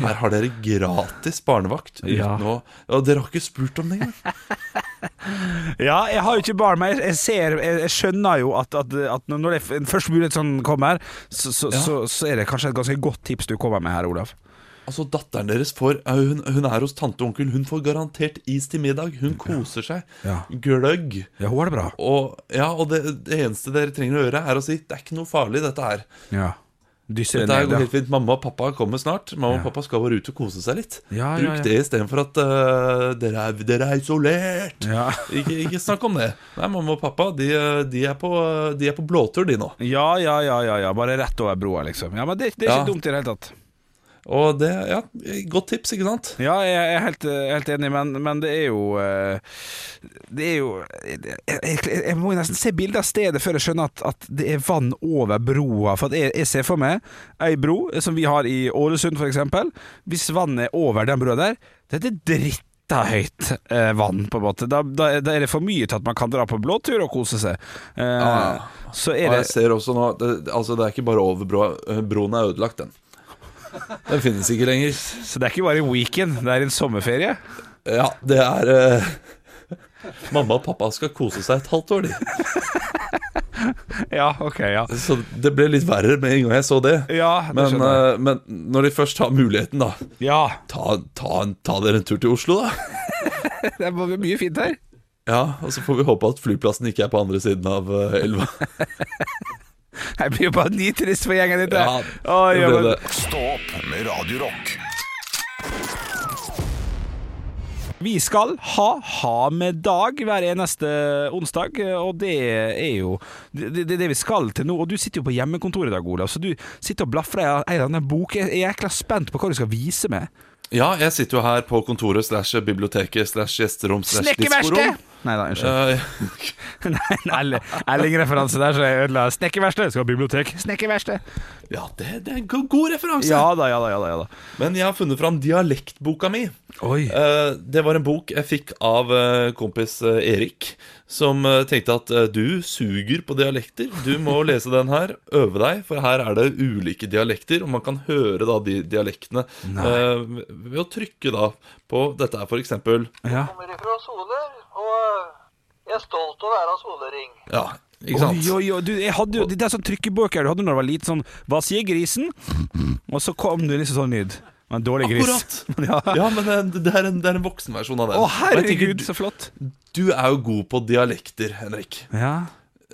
Speaker 3: Her har dere gratis barnevakt. Uten
Speaker 4: Ja.
Speaker 3: å, og dere har ikke spurt om det
Speaker 4: <laughs>
Speaker 3: engang.
Speaker 4: Ja, jeg har jo ikke barn, men jeg, jeg ser Jeg, jeg skjønner jo at, at, at når det er f- en første mulighet sånn kommer, så, så,
Speaker 3: Ja.
Speaker 4: så, så er det kanskje et ganske godt tips du kommer med her, Olav.
Speaker 3: Altså, datteren deres får eh, hun, hun er hos tante og onkel. Hun får garantert is til middag. Hun koser seg.
Speaker 4: Ja.
Speaker 3: Gløgg.
Speaker 4: Ja, hun har det bra.
Speaker 3: Og, ja, og det, det eneste dere trenger å gjøre, er å si 'det er ikke noe farlig, dette her'.
Speaker 4: Ja. Dysser
Speaker 3: Dette her
Speaker 4: ned,
Speaker 3: går
Speaker 4: ja.
Speaker 3: helt fint. Mamma og pappa kommer snart. Mamma og
Speaker 4: Ja.
Speaker 3: pappa skal bare ut og kose seg litt.
Speaker 4: Ja, ja,
Speaker 3: Bruk
Speaker 4: ja.
Speaker 3: det istedenfor at eh, dere, er, 'dere er isolert'.
Speaker 4: Ja.
Speaker 3: Ikke, ikke snakk om det. Nei, mamma og pappa de, eh, de, er, på, de er på blåtur, de nå.
Speaker 4: Ja, ja, ja, ja, ja. Bare rett over broa, liksom. Ja, men det, det er ikke
Speaker 3: Ja.
Speaker 4: dumt i det hele tatt.
Speaker 3: Og det, ja, godt tips, ikke sant?
Speaker 4: Ja, jeg er helt, eh, helt enig, men, men det er jo eh, Det er jo Jeg, jeg, jeg må jo nesten se bilde av stedet før jeg skjønner at, at det er vann over broa. For at jeg, jeg ser for meg ei bro som vi har i Ålesund, f.eks. Hvis vannet er over den broa der, det er dritta høyt eh, vann, på en måte. Da, da, da er det for mye til at man kan dra på blåtur og kose seg. Eh, Så
Speaker 3: Og
Speaker 4: er det
Speaker 3: jeg ser også nå det, Altså, det er ikke bare over broa. eh, Broen er ødelagt, den. Den finnes ikke lenger.
Speaker 4: Så det er ikke bare en weekend, det er en sommerferie.
Speaker 3: Ja, det er eh, Mamma og pappa skal kose seg et halvt år, de.
Speaker 4: Ja, ok, ja.
Speaker 3: Så det ble litt verre med en gang jeg så det.
Speaker 4: Ja, det
Speaker 3: men,
Speaker 4: skjønner
Speaker 3: eh, men når de først har muligheten, da,
Speaker 4: Ja,
Speaker 3: ta, ta, en- ta dere en tur til Oslo, da.
Speaker 4: <laughs> det er bare mye fint her.
Speaker 3: Ja, Og så får vi håpe at flyplassen ikke er på andre siden av eh, elva.
Speaker 4: Jeg blir jo bare nitrist for gjengen ditt.
Speaker 3: Ja,
Speaker 4: jeg. Oi,
Speaker 3: det
Speaker 4: ja,
Speaker 3: ble
Speaker 4: men-
Speaker 3: det.
Speaker 1: Stå opp med Radio Rock.
Speaker 4: Vi skal ha Ha med dag hver eneste onsdag, og det er jo det, det, det vi skal til nå. Og du sitter jo på hjemmekontoret i dag, Olav, så du sitter og blafrer i ei eller annen bok. Jeg jeg er jækla spent på hva du skal vise meg.
Speaker 3: Ja, jeg sitter jo her på kontoret slash biblioteket slash gjesterom slash diskorom.
Speaker 4: Nei da, unnskyld.
Speaker 3: Eh,
Speaker 4: <laughs> Nei, en Elle- Elling-referanse der, så jeg ødela Snekkerverksted. Skal ha bibliotek. Snekkerverksted.
Speaker 3: ja, det, det er en go- god referanse.
Speaker 4: Ja da, ja da, ja da. ja da
Speaker 3: Men jeg har funnet fram dialektboka mi.
Speaker 4: Oi.
Speaker 3: Eh, det var en bok jeg fikk av eh, kompis eh, Erik, som eh, tenkte at eh, du suger på dialekter. Du må <laughs> lese den her, øve deg, for her er det ulike dialekter, og man kan høre da de dialektene eh, ved å trykke da på Dette er for eksempel
Speaker 4: Ja.
Speaker 8: kommer ifra Solør, og eh, jeg er stolt av å være soløring.
Speaker 3: Ja, ikke sant?
Speaker 4: Oi, oi, oi, du, jeg hadde jo Det er sånn trykkebøker du hadde når du var liten, sånn Hva sier grisen? Og så kom det liksom sånn lyd. Det var En dårlig gris.
Speaker 3: Akkurat.
Speaker 4: <laughs> Ja.
Speaker 3: <laughs> Ja, men eh, det, det, er en, det er en voksenversjon av den. Og
Speaker 4: Å,
Speaker 3: jeg tenker,
Speaker 4: herregud, så flott.
Speaker 3: du, du er jo god på dialekter, Henrik.
Speaker 4: Ja.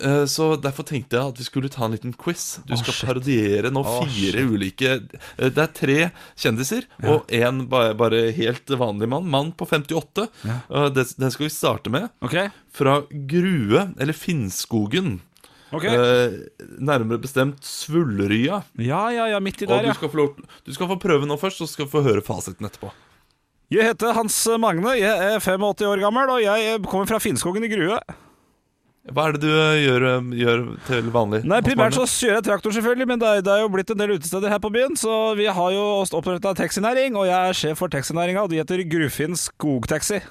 Speaker 3: Eh, Så derfor tenkte jeg at vi skulle ta en liten quiz. Du skal parodiere nå fire ulike eh, Det er tre kjendiser og én bare, bare helt vanlig mann. Mann på 58. Eh, Det, den skal vi starte med.
Speaker 4: OK.
Speaker 3: Fra Grue, eller Finnskogen.
Speaker 4: ok
Speaker 3: Eh, nærmere bestemt Svullerya.
Speaker 4: Ja, ja, ja, midt i
Speaker 3: Og
Speaker 4: der,
Speaker 3: du
Speaker 4: ja.
Speaker 3: skal, få lov, du skal få prøve nå først, så skal du få høre fasiten etterpå.
Speaker 4: Jeg heter Hans Magne, jeg er 85 år gammel, og jeg kommer fra Finnskogen i Grue.
Speaker 3: Hva er det du eh, gjør, eh, gjør til vanlig?
Speaker 4: Nei, primært så
Speaker 3: Hans Magne?
Speaker 4: kjører jeg traktor, selvfølgelig, men det er, det er jo blitt en del utesteder her på byen, så vi har jo oppretta taxinæring, og jeg er sjef for taxinæringa, og de heter Grufinn Skogtaxi.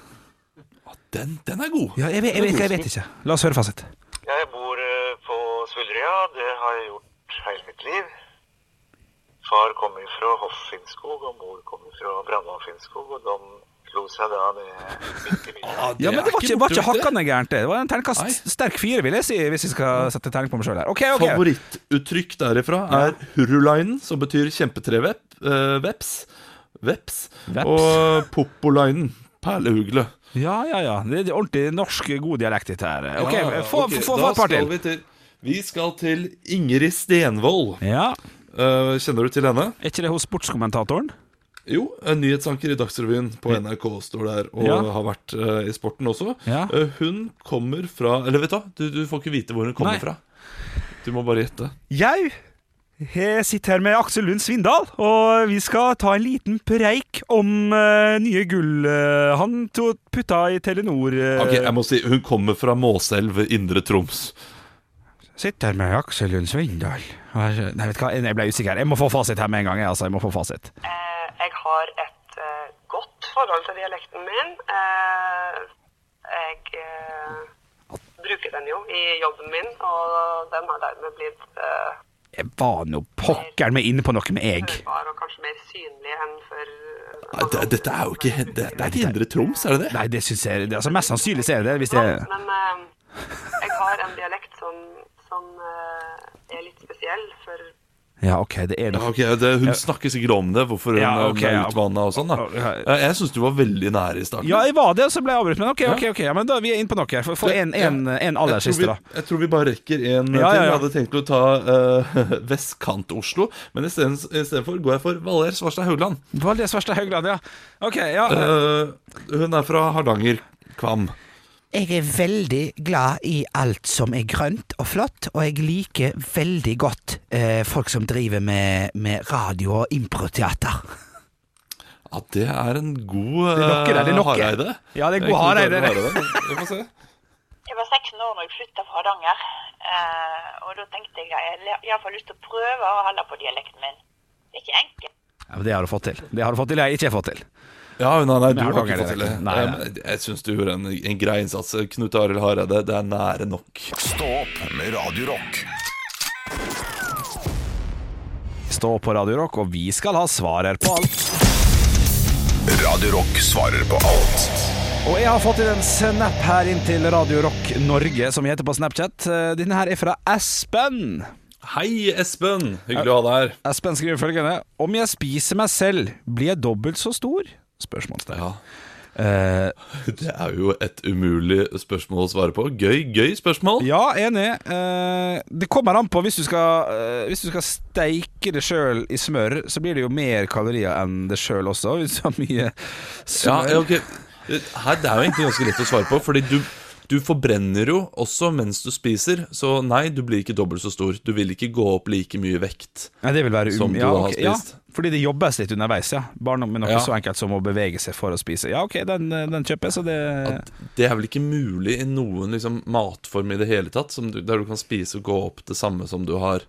Speaker 3: Den, den er god!
Speaker 4: Ja, jeg vet, jeg, vet, jeg vet ikke. La oss høre fasit.
Speaker 8: Jeg bor eh, på Svullrya, det har jeg gjort hele mitt liv. Far kom fra Hoffinskog, og mor kom fra Brandalfinskog, og de slo seg da ned midt i byen.
Speaker 4: Ja, men det
Speaker 3: er
Speaker 4: var ikke, var ikke
Speaker 3: borte, vet du.
Speaker 4: hakkande gærent, det. Det var en
Speaker 3: Nei.
Speaker 4: terningkast sterk fire, vil jeg si, hvis jeg skal sette terning på meg sjøl her. OK, OK.
Speaker 3: Favorittuttrykk derifra er hurrulainen, som betyr kjempetreveps. eh, veps, veps,
Speaker 4: Veps.
Speaker 3: Og popolainen, perleugle.
Speaker 4: Ja, ja, ja. Det er ordentlig norsk god dialekt, dette her. OK, eh,
Speaker 3: Ja,
Speaker 4: få,
Speaker 3: ok,
Speaker 4: få, få
Speaker 3: da
Speaker 4: et
Speaker 3: skal
Speaker 4: par til.
Speaker 3: Vi, til. vi skal til Ingrid Stenvold.
Speaker 4: Ja.
Speaker 3: Eh, kjenner du til henne?
Speaker 4: Er ikke det hos sportskommentatoren?
Speaker 3: Jo, en nyhetsanker i Dagsrevyen på NRK står der og
Speaker 4: Ja.
Speaker 3: har vært eh, i sporten også.
Speaker 4: Ja.
Speaker 3: Eh, hun kommer fra Eller vet du hva, du, du får ikke vite hvor hun kommer
Speaker 4: Nei.
Speaker 3: fra. Du må bare gjette.
Speaker 4: Jeg sitter her med Aksel Lund Svindal, og vi skal ta en liten preik om eh, nye gull eh, han putta i Telenor. eh,
Speaker 3: Ok, jeg må si, Hun kommer fra Måselv, Indre Troms.
Speaker 4: Sitter her med Aksel Lund Svindal. Nei, vet du hva, jeg ble usikker. Jeg må få fasit her med en gang. jeg, Altså. Jeg må få fasit.
Speaker 7: Eh, jeg har et eh, godt forhold til dialekten min. Eh, jeg eh, bruker den jo i jobben min, og den har dermed blitt eh,
Speaker 4: Jeg var nå pokkeren meg inne på noe med egg.
Speaker 7: hørbar og kanskje mer synlig enn for
Speaker 3: Nei, det, Ah, dette er jo ikke det, det er ikke Indre Troms, er det det?
Speaker 4: Nei, det syns jeg det, altså, Mest sannsynlig så er det det. Hvis det
Speaker 7: Men eh, jeg har en dialekt som, som eh, er litt spesiell, for
Speaker 4: ja, OK, det er
Speaker 3: Ja,
Speaker 4: noe
Speaker 3: ok, det, Hun snakker sikkert om det, hvorfor hun
Speaker 4: Ja, ok,
Speaker 3: er
Speaker 4: ja.
Speaker 3: utvanna og sånn. da
Speaker 4: Ja.
Speaker 3: Eh, Jeg syns du var veldig nære i starten.
Speaker 4: Ja, jeg var det, og så ble jeg avbrutt. Men OK, ok, ok, ja, men da, vi er inne på noe. her. Få- Få en, en, en aller
Speaker 3: jeg, tror
Speaker 4: siste,
Speaker 3: vi,
Speaker 4: da.
Speaker 3: jeg tror vi bare rekker en eh,
Speaker 4: Ja,
Speaker 3: til.
Speaker 4: ja,
Speaker 3: Jeg
Speaker 4: ja.
Speaker 3: hadde tenkt å ta eh, <laughs> Vestkant-Oslo, men istedenfor går jeg for Valgerd Svarstad Haugland.
Speaker 4: Valdes verste Haugland, ja. Ok, ja.
Speaker 3: Eh, hun er fra Hardanger. Kvam.
Speaker 9: Jeg er veldig glad i alt som er grønt og flott, og jeg liker veldig godt eh, folk som driver med, med radio og improteater.
Speaker 3: Ja, det er en god
Speaker 4: Det lokker, det,
Speaker 3: eh,
Speaker 4: det lokker.
Speaker 3: Hareide.
Speaker 4: Ja, det
Speaker 3: Jeg kunne
Speaker 4: er god
Speaker 3: ikke
Speaker 4: Hareide.
Speaker 3: klart å være det. Vi får
Speaker 4: <laughs>
Speaker 3: se.
Speaker 10: Jeg var 16 år når jeg flytta fra Hardanger. eh, og da tenkte jeg at jeg har iallfall lyst til å prøve å holde på dialekten min. Det er ikke enkelt.
Speaker 4: Ja, men det har du fått til. Det har du fått til, jeg ikke har fått til.
Speaker 3: Ja, nei, nei, du
Speaker 4: Men jeg
Speaker 3: har
Speaker 4: kan
Speaker 3: ikke
Speaker 4: ikke
Speaker 3: fått til det.
Speaker 4: det. Nei,
Speaker 3: Eh, men Jeg syns du gjorde en, en grei innsats, Knut Arild Hareide. Det er nære nok.
Speaker 1: Stå opp med Radio Rock.
Speaker 4: Stå på Radio Rock, og vi skal ha svarer på alt.
Speaker 1: Radio Rock svarer på alt.
Speaker 4: Og jeg har fått inn en snap her inn til Radio Rock Norge, som vi heter på Snapchat. Eh, Denne her er fra Espen.
Speaker 3: Hei, Espen! Hyggelig å ha deg her.
Speaker 4: Espen skriver følgende Om jeg spiser meg selv, blir jeg dobbelt så stor? Spørsmålstegn.
Speaker 3: Ja. <laughs>
Speaker 4: Eh,
Speaker 3: Det er jo et umulig spørsmål å svare på. Gøy, gøy spørsmål.
Speaker 4: ja, enig. Eh, det kommer an på. Hvis du skal, eh, hvis du skal steike det sjøl i smør, så blir det jo mer kalorier enn det sjøl også, <laughs> hvis du har mye
Speaker 3: Ja,
Speaker 4: smør.
Speaker 3: ja, ok Her, Det er jo egentlig ganske lett å svare på Fordi du, du forbrenner jo også mens du spiser Så nei, du blir ikke dobbelt så stor Du vil ikke gå opp like mye vekt
Speaker 4: Nei, det vil være um-
Speaker 3: Som du
Speaker 4: ja,
Speaker 3: har
Speaker 4: ok,
Speaker 3: spist.
Speaker 4: Ja, fordi det jobbes litt underveis, ja. Bare noe- med noe
Speaker 3: Ja.
Speaker 4: så enkelt som å bevege seg for å spise. Ja, OK, den, den kjøper jeg, så det
Speaker 3: At Det er vel ikke mulig i noen liksom, matform i det hele tatt som du, Der du kan spise og gå opp det samme som du har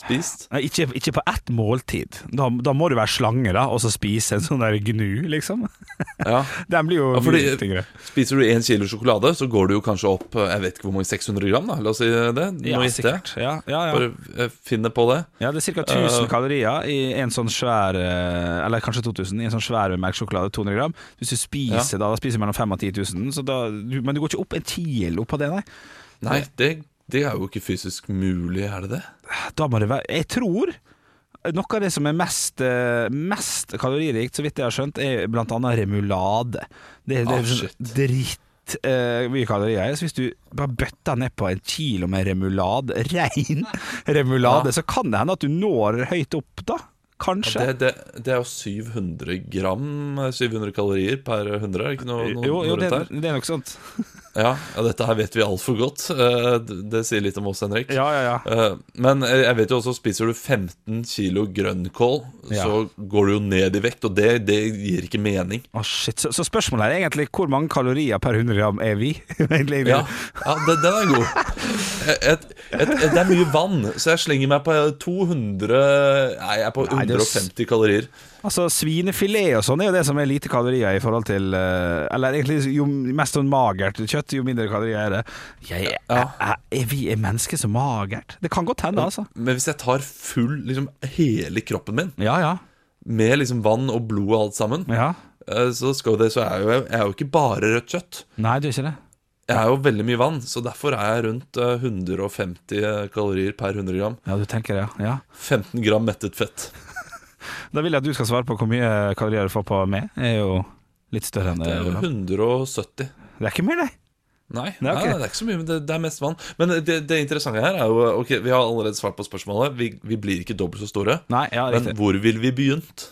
Speaker 3: spist
Speaker 4: Nei, ikke, ikke på ett måltid. Da, da må du være slange, da, og så spise en sånn der gnu, liksom. <laughs>
Speaker 3: Ja
Speaker 4: Den blir jo
Speaker 3: Ja, fordi
Speaker 4: mye tyngre.
Speaker 3: Spiser du 1 kilo sjokolade, så går du jo kanskje opp eh, Jeg vet ikke hvor mange, 600 gram da La oss si det, nå gjette jeg.
Speaker 4: Ja, ja, ja.
Speaker 3: Bare eh, finne på det
Speaker 4: ja, det er ca. 1000
Speaker 3: Eh,
Speaker 4: kalorier i en sånn svær eh, Eller kanskje 2000 i en sånn svær med melkesjokolade, 200 gram. Hvis du spiser da, da spiser du mellom 5 og 10 000, så da, du, men du går ikke opp en kilo på det, nei.
Speaker 3: Nei, det, det er jo ikke fysisk mulig, er det det?
Speaker 4: Da må det være Jeg tror noe av det som er mest, eh, mest kaloririkt, så vidt jeg har skjønt, er blant annet remulade. Det, det
Speaker 3: Ah,
Speaker 4: er sånn
Speaker 3: shit.
Speaker 4: dritt eh, mye kalorier i. Så hvis du bare bøtter ned på en kilo med remulade, <laughs> rein remulade, så kan det hende at du når høyt opp, da. Kanskje.
Speaker 3: Det, det, det er jo 700 gram, eh, 700 kalorier per 100, er det ikke noe, noe,
Speaker 4: Eh, jo, jo
Speaker 3: noe
Speaker 4: det,
Speaker 3: rundt her?
Speaker 4: det er nok sant.
Speaker 3: Ja, ja, dette her vet vi altfor godt. Eh, d- Det sier litt om oss, Henrik.
Speaker 4: Ja, ja, ja.
Speaker 3: Eh, Men eh, jeg vet jo også, spiser du 15 kilo grønnkål,
Speaker 4: Ja.
Speaker 3: så går du jo ned i vekt, og det, det gir ikke mening.
Speaker 4: Å, Ah, shit. Så, så spørsmålet er egentlig hvor mange kalorier per 100 gram er vi? <laughs> egentlig,
Speaker 3: Ja, ja den, den er god. Et, et, et, det er mye vann, så jeg slenger meg på 200 Nei, jeg er på
Speaker 4: Nei, det er s-
Speaker 3: 150 kalorier.
Speaker 4: Altså Svinefilet og sånn er jo det som er lite kalorier i forhold til eh, Eller egentlig jo mest sånn magert kjøtt, jo mindre kalorier er det. Jeg,
Speaker 3: Ja.
Speaker 4: er, er vi er mennesker så magert? Det kan godt hende, altså.
Speaker 3: Men hvis jeg tar full, liksom hele kroppen min,
Speaker 4: Ja, ja.
Speaker 3: med liksom vann og blod og alt sammen,
Speaker 4: ja.
Speaker 3: Eh, så, skal jo det, så er jeg, jo, jeg er jo ikke bare rødt kjøtt.
Speaker 4: Nei, du er ikke det.
Speaker 3: Jeg er jo veldig mye vann, så derfor er jeg rundt eh, 150 eh, kalorier per 100 gram.
Speaker 4: Ja, du tenker det, ja.
Speaker 3: 15 gram mettet fett.
Speaker 4: ja. Da vil jeg at du skal svare på hvor mye kalorier du får på meg. Jeg er jo litt større enn
Speaker 3: Det
Speaker 4: det.
Speaker 3: er jo
Speaker 4: Olav.
Speaker 3: 170.
Speaker 4: Det er ikke mer, det.
Speaker 3: Nei,
Speaker 4: Nei,
Speaker 3: nei,
Speaker 4: ok.
Speaker 3: det er ikke så mye, men det, det er mest vann. Men det, det interessante her er jo Ok, vi har allerede svart på spørsmålet. Vi, vi blir ikke dobbelt så store.
Speaker 4: Nei, ja,
Speaker 3: Men
Speaker 4: riktig.
Speaker 3: hvor ville vi begynt?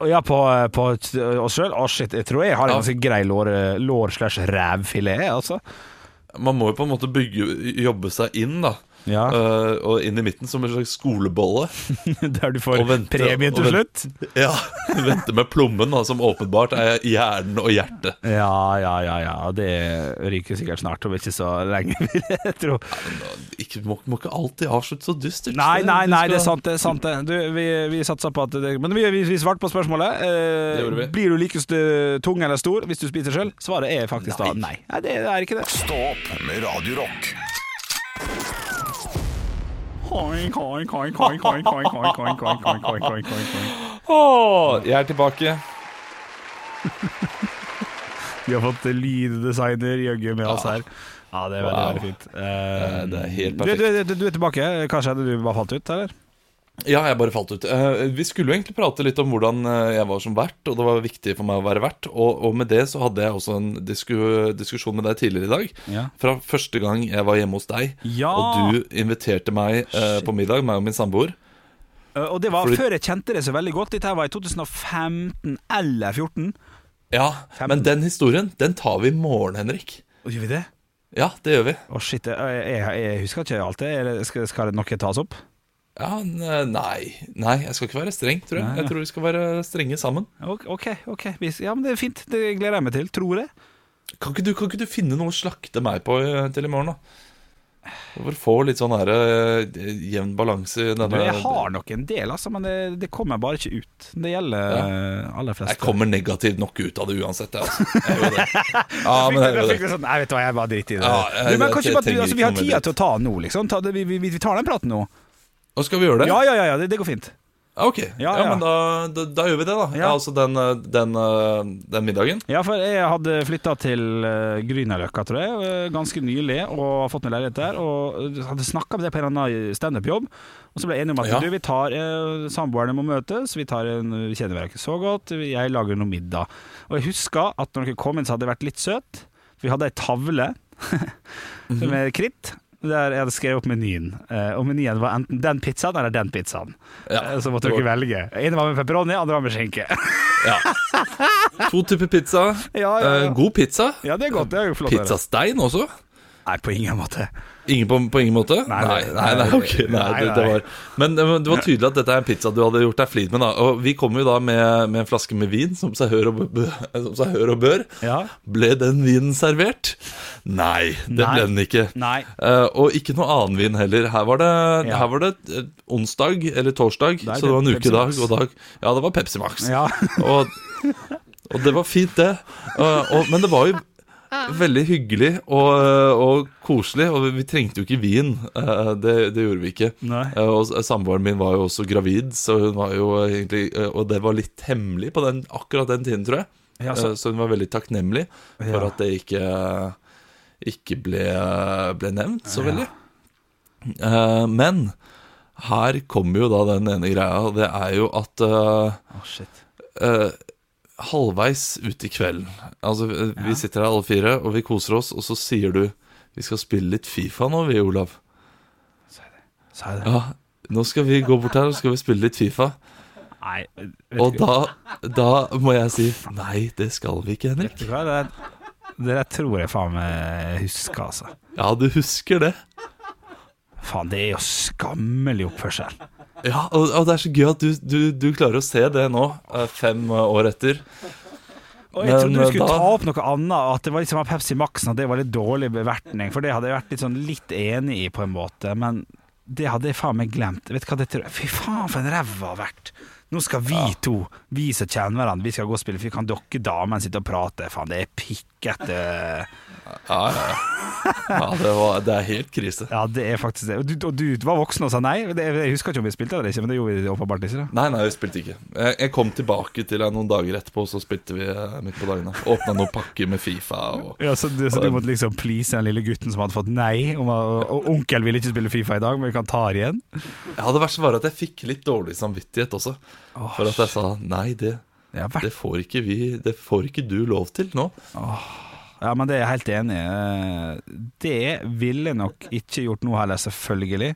Speaker 4: Og ja, på, på oss sjøl? Å, shit, jeg tror jeg har en
Speaker 3: Ja.
Speaker 4: ganske grei lår- lår-slash-rævfilet, altså.
Speaker 3: Man må jo på en måte bygge, jobbe seg inn, da.
Speaker 4: Ja.
Speaker 3: Eh, og inn i midten, som en slags skolebolle.
Speaker 4: <laughs> Der du får
Speaker 3: Og vente,
Speaker 4: premie
Speaker 3: og
Speaker 4: til
Speaker 3: vente.
Speaker 4: slutt.
Speaker 3: Ja, Vente med plommen, da, som åpenbart er hjernen og hjertet.
Speaker 4: Ja, ja, ja, ja. Det ryker sikkert snart, om ikke så lenge, <laughs> vil jeg tro.
Speaker 3: ikke, må, må ikke alltid avslutte så dystert.
Speaker 4: Nei,
Speaker 3: Det-
Speaker 4: nei,
Speaker 3: du
Speaker 4: nei,
Speaker 3: skal-
Speaker 4: det er sant, det. er sant det. Du, vi, vi satser på at det Men vi, vi, vi svarte på spørsmålet. Eh,
Speaker 3: Det gjorde vi.
Speaker 4: Blir du like st- tung eller stor hvis du spiser sjøl? Svaret er faktisk da nei. nei. Det er ikke det.
Speaker 1: Stå opp med Radio Rock.
Speaker 4: jeg er tilbake. Vi har fått lyddesigner Jøgge med oss her. Ja, det er veldig, veldig fint. Eh,
Speaker 3: Det er helt
Speaker 4: du,
Speaker 3: perfekt.
Speaker 4: du, du, du er tilbake. Hva skjedde? Du bare falt ut, eller?
Speaker 3: Ja, jeg bare falt ut. Eh, vi skulle jo egentlig prate litt om hvordan eh, jeg var som vert, og det var viktig for meg å være vert. Og, og med det så hadde jeg også en disku, diskusjon med deg tidligere i dag.
Speaker 4: Ja.
Speaker 3: Fra første gang jeg var hjemme hos deg,
Speaker 4: Ja.
Speaker 3: og du inviterte meg eh, på middag, meg og min samboer.
Speaker 4: Eh, Og det var
Speaker 3: Fordi-
Speaker 4: før jeg kjente det så veldig godt. Dette her var i 2015 eller 2014.
Speaker 3: Ja, men den historien, den tar vi i morgen, Henrik.
Speaker 4: Gjør vi det?
Speaker 3: Ja, det gjør vi.
Speaker 4: Å shit, jeg, jeg, jeg husker ikke alt det. Er det- Skal, skal det noe tas opp?
Speaker 3: Ja, n- nei. nei, jeg skal ikke være streng, tror jeg.
Speaker 4: Nei,
Speaker 3: Jeg
Speaker 4: ja.
Speaker 3: tror vi skal være strenge sammen.
Speaker 4: Ok, ok. ok. Vi- Ja, men Det er fint. Det gleder jeg meg til. Tror jeg.
Speaker 3: Kan ikke du, kan ikke du finne noe å slakte meg på eh, til i morgen, da? For å få litt sånn her eh, jevn balanse i
Speaker 4: Du,
Speaker 3: denne
Speaker 4: jeg har nok en del, altså, men det, det kommer bare ikke ut. Det gjelder eh, aller fleste.
Speaker 3: Jeg kommer negativt nok ut av det uansett, jeg, altså. Jeg gjør det. Ja, men jeg
Speaker 4: <laughs> Jeg
Speaker 3: gjør
Speaker 4: fikk
Speaker 3: det.
Speaker 4: det sånn, Nei, vet du hva, jeg bare driter i
Speaker 3: Ja,
Speaker 4: det.
Speaker 3: jeg-
Speaker 4: du, men
Speaker 3: jeg-
Speaker 4: kanskje
Speaker 3: jeg
Speaker 4: bare, at du,
Speaker 3: trenger
Speaker 4: altså, Vi har
Speaker 3: ikke noe
Speaker 4: tida
Speaker 3: mer
Speaker 4: til å ta den nå, liksom. Ta det, vi, vi, vi tar den praten nå.
Speaker 3: Nå skal vi gjøre det?
Speaker 4: Ja, ja, ja, ja det, det går fint.
Speaker 3: Ja, ok.
Speaker 4: Ja,
Speaker 3: Ja,
Speaker 4: ja.
Speaker 3: men da, da, da gjør vi det, da. Ja, altså den, eh, den, eh, den middagen.
Speaker 4: Ja, for jeg hadde flytta til eh, Grünerløkka, tror jeg, eh, ganske nylig, og har fått meg leilighet der. Og hadde snakka med det på en eller annen standup-jobb, og så ble jeg enig om at
Speaker 3: Ja.
Speaker 4: du, vi tar eh, samboerne må møtes, vi tar en, vi kjenner hverandre ikke så godt, jeg lager noe middag. Og jeg huska at når dere kom inn, så hadde jeg vært litt søt, for vi hadde ei tavle <laughs>
Speaker 3: Mhm.
Speaker 4: med kritt. Der jeg hadde skrevet opp menyen, eh, og menyen var enten den pizzaen eller den pizzaen.
Speaker 3: Ja,
Speaker 4: Eh, så måtte
Speaker 3: det var-
Speaker 4: dere velge. Ene var med pepperoni, andre var med skinke. <laughs>
Speaker 3: Ja. To typer pizza.
Speaker 4: Ja, ja, ja.
Speaker 3: Eh, God pizza.
Speaker 4: ja, det er godt. Det er jo flott. å høre.
Speaker 3: Pizzastein også.
Speaker 4: Nei, på ingen måte.
Speaker 3: Ingen på, på ingen måte?
Speaker 4: Nei,
Speaker 3: Nei,
Speaker 4: nei,
Speaker 3: nei, nei, ok, nei,
Speaker 4: nei,
Speaker 3: Det, det
Speaker 4: nei.
Speaker 3: var. Men eh, men det var tydelig at dette er en pizza du hadde gjort deg flid med. Da. Og vi kom jo da med, med en flaske med vin, som seg hør og, b- som seg hør og bør.
Speaker 4: Ja.
Speaker 3: Ble den vinen servert? Nei, det
Speaker 4: Nei.
Speaker 3: ble den ikke.
Speaker 4: Nei.
Speaker 3: Eh, og ikke noe annen vin heller. Her var det,
Speaker 4: Ja.
Speaker 3: her var det eh, onsdag eller torsdag,
Speaker 4: er
Speaker 3: så det var en
Speaker 4: Pepsi
Speaker 3: ukedag.
Speaker 4: Max.
Speaker 3: Og dag. Ja, det var Pepsi Max.
Speaker 4: <laughs> Ja.
Speaker 3: Og, og det var fint, det. Og, og, men det var jo veldig hyggelig og, og koselig, og vi trengte jo ikke vin. Eh, Det, det gjorde vi ikke.
Speaker 4: Nei.
Speaker 3: Eh, Og samboeren min var jo også gravid, så hun var jo egentlig eh, Og det var litt hemmelig på den, akkurat den tiden, tror jeg.
Speaker 4: Ja, så-
Speaker 3: Eh, så hun var veldig takknemlig for
Speaker 4: Ja.
Speaker 3: at det ikke, ikke ble, ble nevnt så veldig. Eh, men her kommer jo da den ene greia, og det er jo at eh, eh, halvveis ut i kvelden Altså, eh, vi sitter her alle fire, og vi koser oss, og så sier du Vi skal spille litt Fifa nå, vi, Olav.
Speaker 4: Sa jeg det?
Speaker 3: Ja, nå skal vi gå bort her, og så skal vi spille litt Fifa.
Speaker 4: Nei, vet
Speaker 3: Og
Speaker 4: ikke.
Speaker 3: da, da må jeg si nei, det skal vi ikke, Henrik.
Speaker 4: Vet du hva, det, det der tror jeg faen meg husker, altså.
Speaker 3: Ja, du husker det.
Speaker 4: Faen, det er jo skammelig oppførsel.
Speaker 3: Ja, og, og det er så gøy at du, du, du klarer å se det nå, eh, fem år etter.
Speaker 4: Og jeg trodde
Speaker 3: Men, eh,
Speaker 4: du skulle
Speaker 3: da-
Speaker 4: ta opp noe annet, og at det var liksom at Pepsi Max og at det var litt dårlig bevertning, for det hadde jeg vært litt, sånn litt enig i, på en måte, men det hadde jeg faen meg glemt. Vet du hva det tror jeg Fy faen, for en ræva har vært. Nå skal vi to, vi som kjenner hverandre, vi skal gå og spille, for kan dere damene sitte og prate? Faen, det er pikkete
Speaker 3: Ja, ja, ja. ja det, var, det er helt krise.
Speaker 4: Ja, det er faktisk det. Og du, og du var voksen og sa nei. Det, jeg husker ikke om vi spilte eller ikke, men det gjorde vi åpenbart ikke. da
Speaker 3: Nei, nei, vi spilte ikke. Jeg, jeg kom tilbake til deg noen dager etterpå, og så spilte vi eh, midt på dagene. Åpna noen pakker med Fifa og
Speaker 4: ja, så, du, så du måtte liksom please den lille gutten som hadde fått nei? Om, å- og onkel ville ikke spille Fifa i dag, men vi kan ta det igjen?
Speaker 3: Ja, det verste var at jeg fikk litt dårlig samvittighet også. For at jeg sa nei, det,
Speaker 4: Det har
Speaker 3: det
Speaker 4: vært
Speaker 3: får ikke vi Det får ikke du lov til nå.
Speaker 4: Ja, men det er jeg helt enig i. Eh, Det ville jeg nok ikke gjort nå heller, selvfølgelig.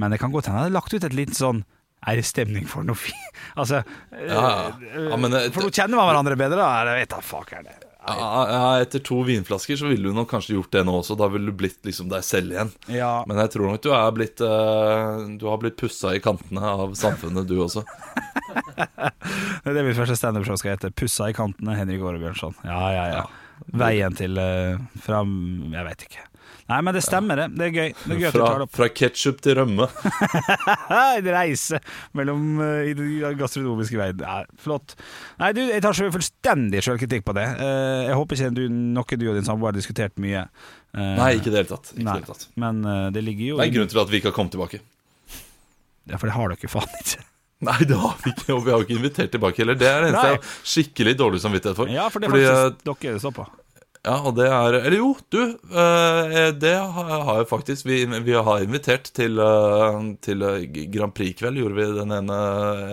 Speaker 4: Men det kan godt hende jeg hadde lagt ut et lite sånn Er det stemning for noe fint? <laughs> Altså eh,
Speaker 3: Ja, ja. Ja, men, eh,
Speaker 4: For nå kjenner man hverandre bedre, da. Eller vet da fuck er det.
Speaker 3: Ja, ja, etter to vinflasker så ville du nok kanskje gjort det nå også. Da ville du blitt liksom deg selv igjen.
Speaker 4: Ja.
Speaker 3: Men jeg tror nok du er blitt eh, Du har blitt pussa i kantene av samfunnet, du også.
Speaker 4: Det er mitt første standup-show skal hete 'Pussa i kantene', Henrik Åre Bjørnson. Ja, ja, ja. Veien til eh, fram Jeg veit ikke. Nei, men det stemmer, det. Det er gøy. Det er gøy at du tar
Speaker 3: Fra,
Speaker 4: det opp.
Speaker 3: fra ketsjup til rømme.
Speaker 4: En reise mellom eh, i den gastronomiske veien. Ja, flott. Nei, du, jeg tar så fullstendig sjølkritikk på det. Eh, jeg håper ikke du, noe du og din samboer har diskutert mye. Eh,
Speaker 3: Nei, ikke i det hele tatt. Ikke i det
Speaker 4: nei.
Speaker 3: hele tatt.
Speaker 4: Men eh, det ligger jo
Speaker 3: Det er en
Speaker 4: i-
Speaker 3: grunn til at vi ikke har kommet tilbake.
Speaker 4: Ja, For det har dere faen
Speaker 3: <laughs>
Speaker 4: ikke.
Speaker 3: Nei, det har vi ikke, og vi har jo ikke invitert tilbake heller. Det er det eneste
Speaker 4: Nei.
Speaker 3: jeg har skikkelig dårlig samvittighet for.
Speaker 4: Ja, for det er
Speaker 3: Fordi,
Speaker 4: faktisk dere det står på.
Speaker 3: eh, ja, og det er Eller jo, du, eh, det har har jeg faktisk. Vi, vi har invitert til, eh, til eh, Grand Prix-kveld, gjorde vi den ene,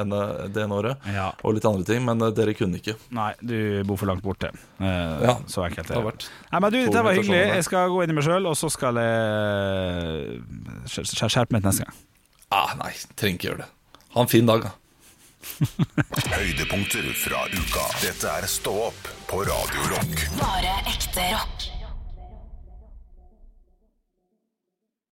Speaker 3: ene, det ene året.
Speaker 4: Ja.
Speaker 3: Og litt andre ting, men eh, dere kunne ikke.
Speaker 4: Nei, du bor for langt borte. Eh,
Speaker 3: Ja,
Speaker 4: så enkelt
Speaker 3: det
Speaker 4: er
Speaker 3: har
Speaker 4: det.
Speaker 3: vært
Speaker 4: Nei, men du,
Speaker 3: to sånn,
Speaker 4: Dette var hyggelig.
Speaker 3: invitasjoner der.
Speaker 4: Jeg skal gå inn i meg sjøl, og så skal jeg skjer- skjer- skjerpe meg til neste gang.
Speaker 3: Ah, nei, trenger ikke gjøre det. Ha en fin dag, da.
Speaker 1: Høydepunkter fra uka. Dette er Stå opp på Radio Rock.
Speaker 2: Bare ekte rock.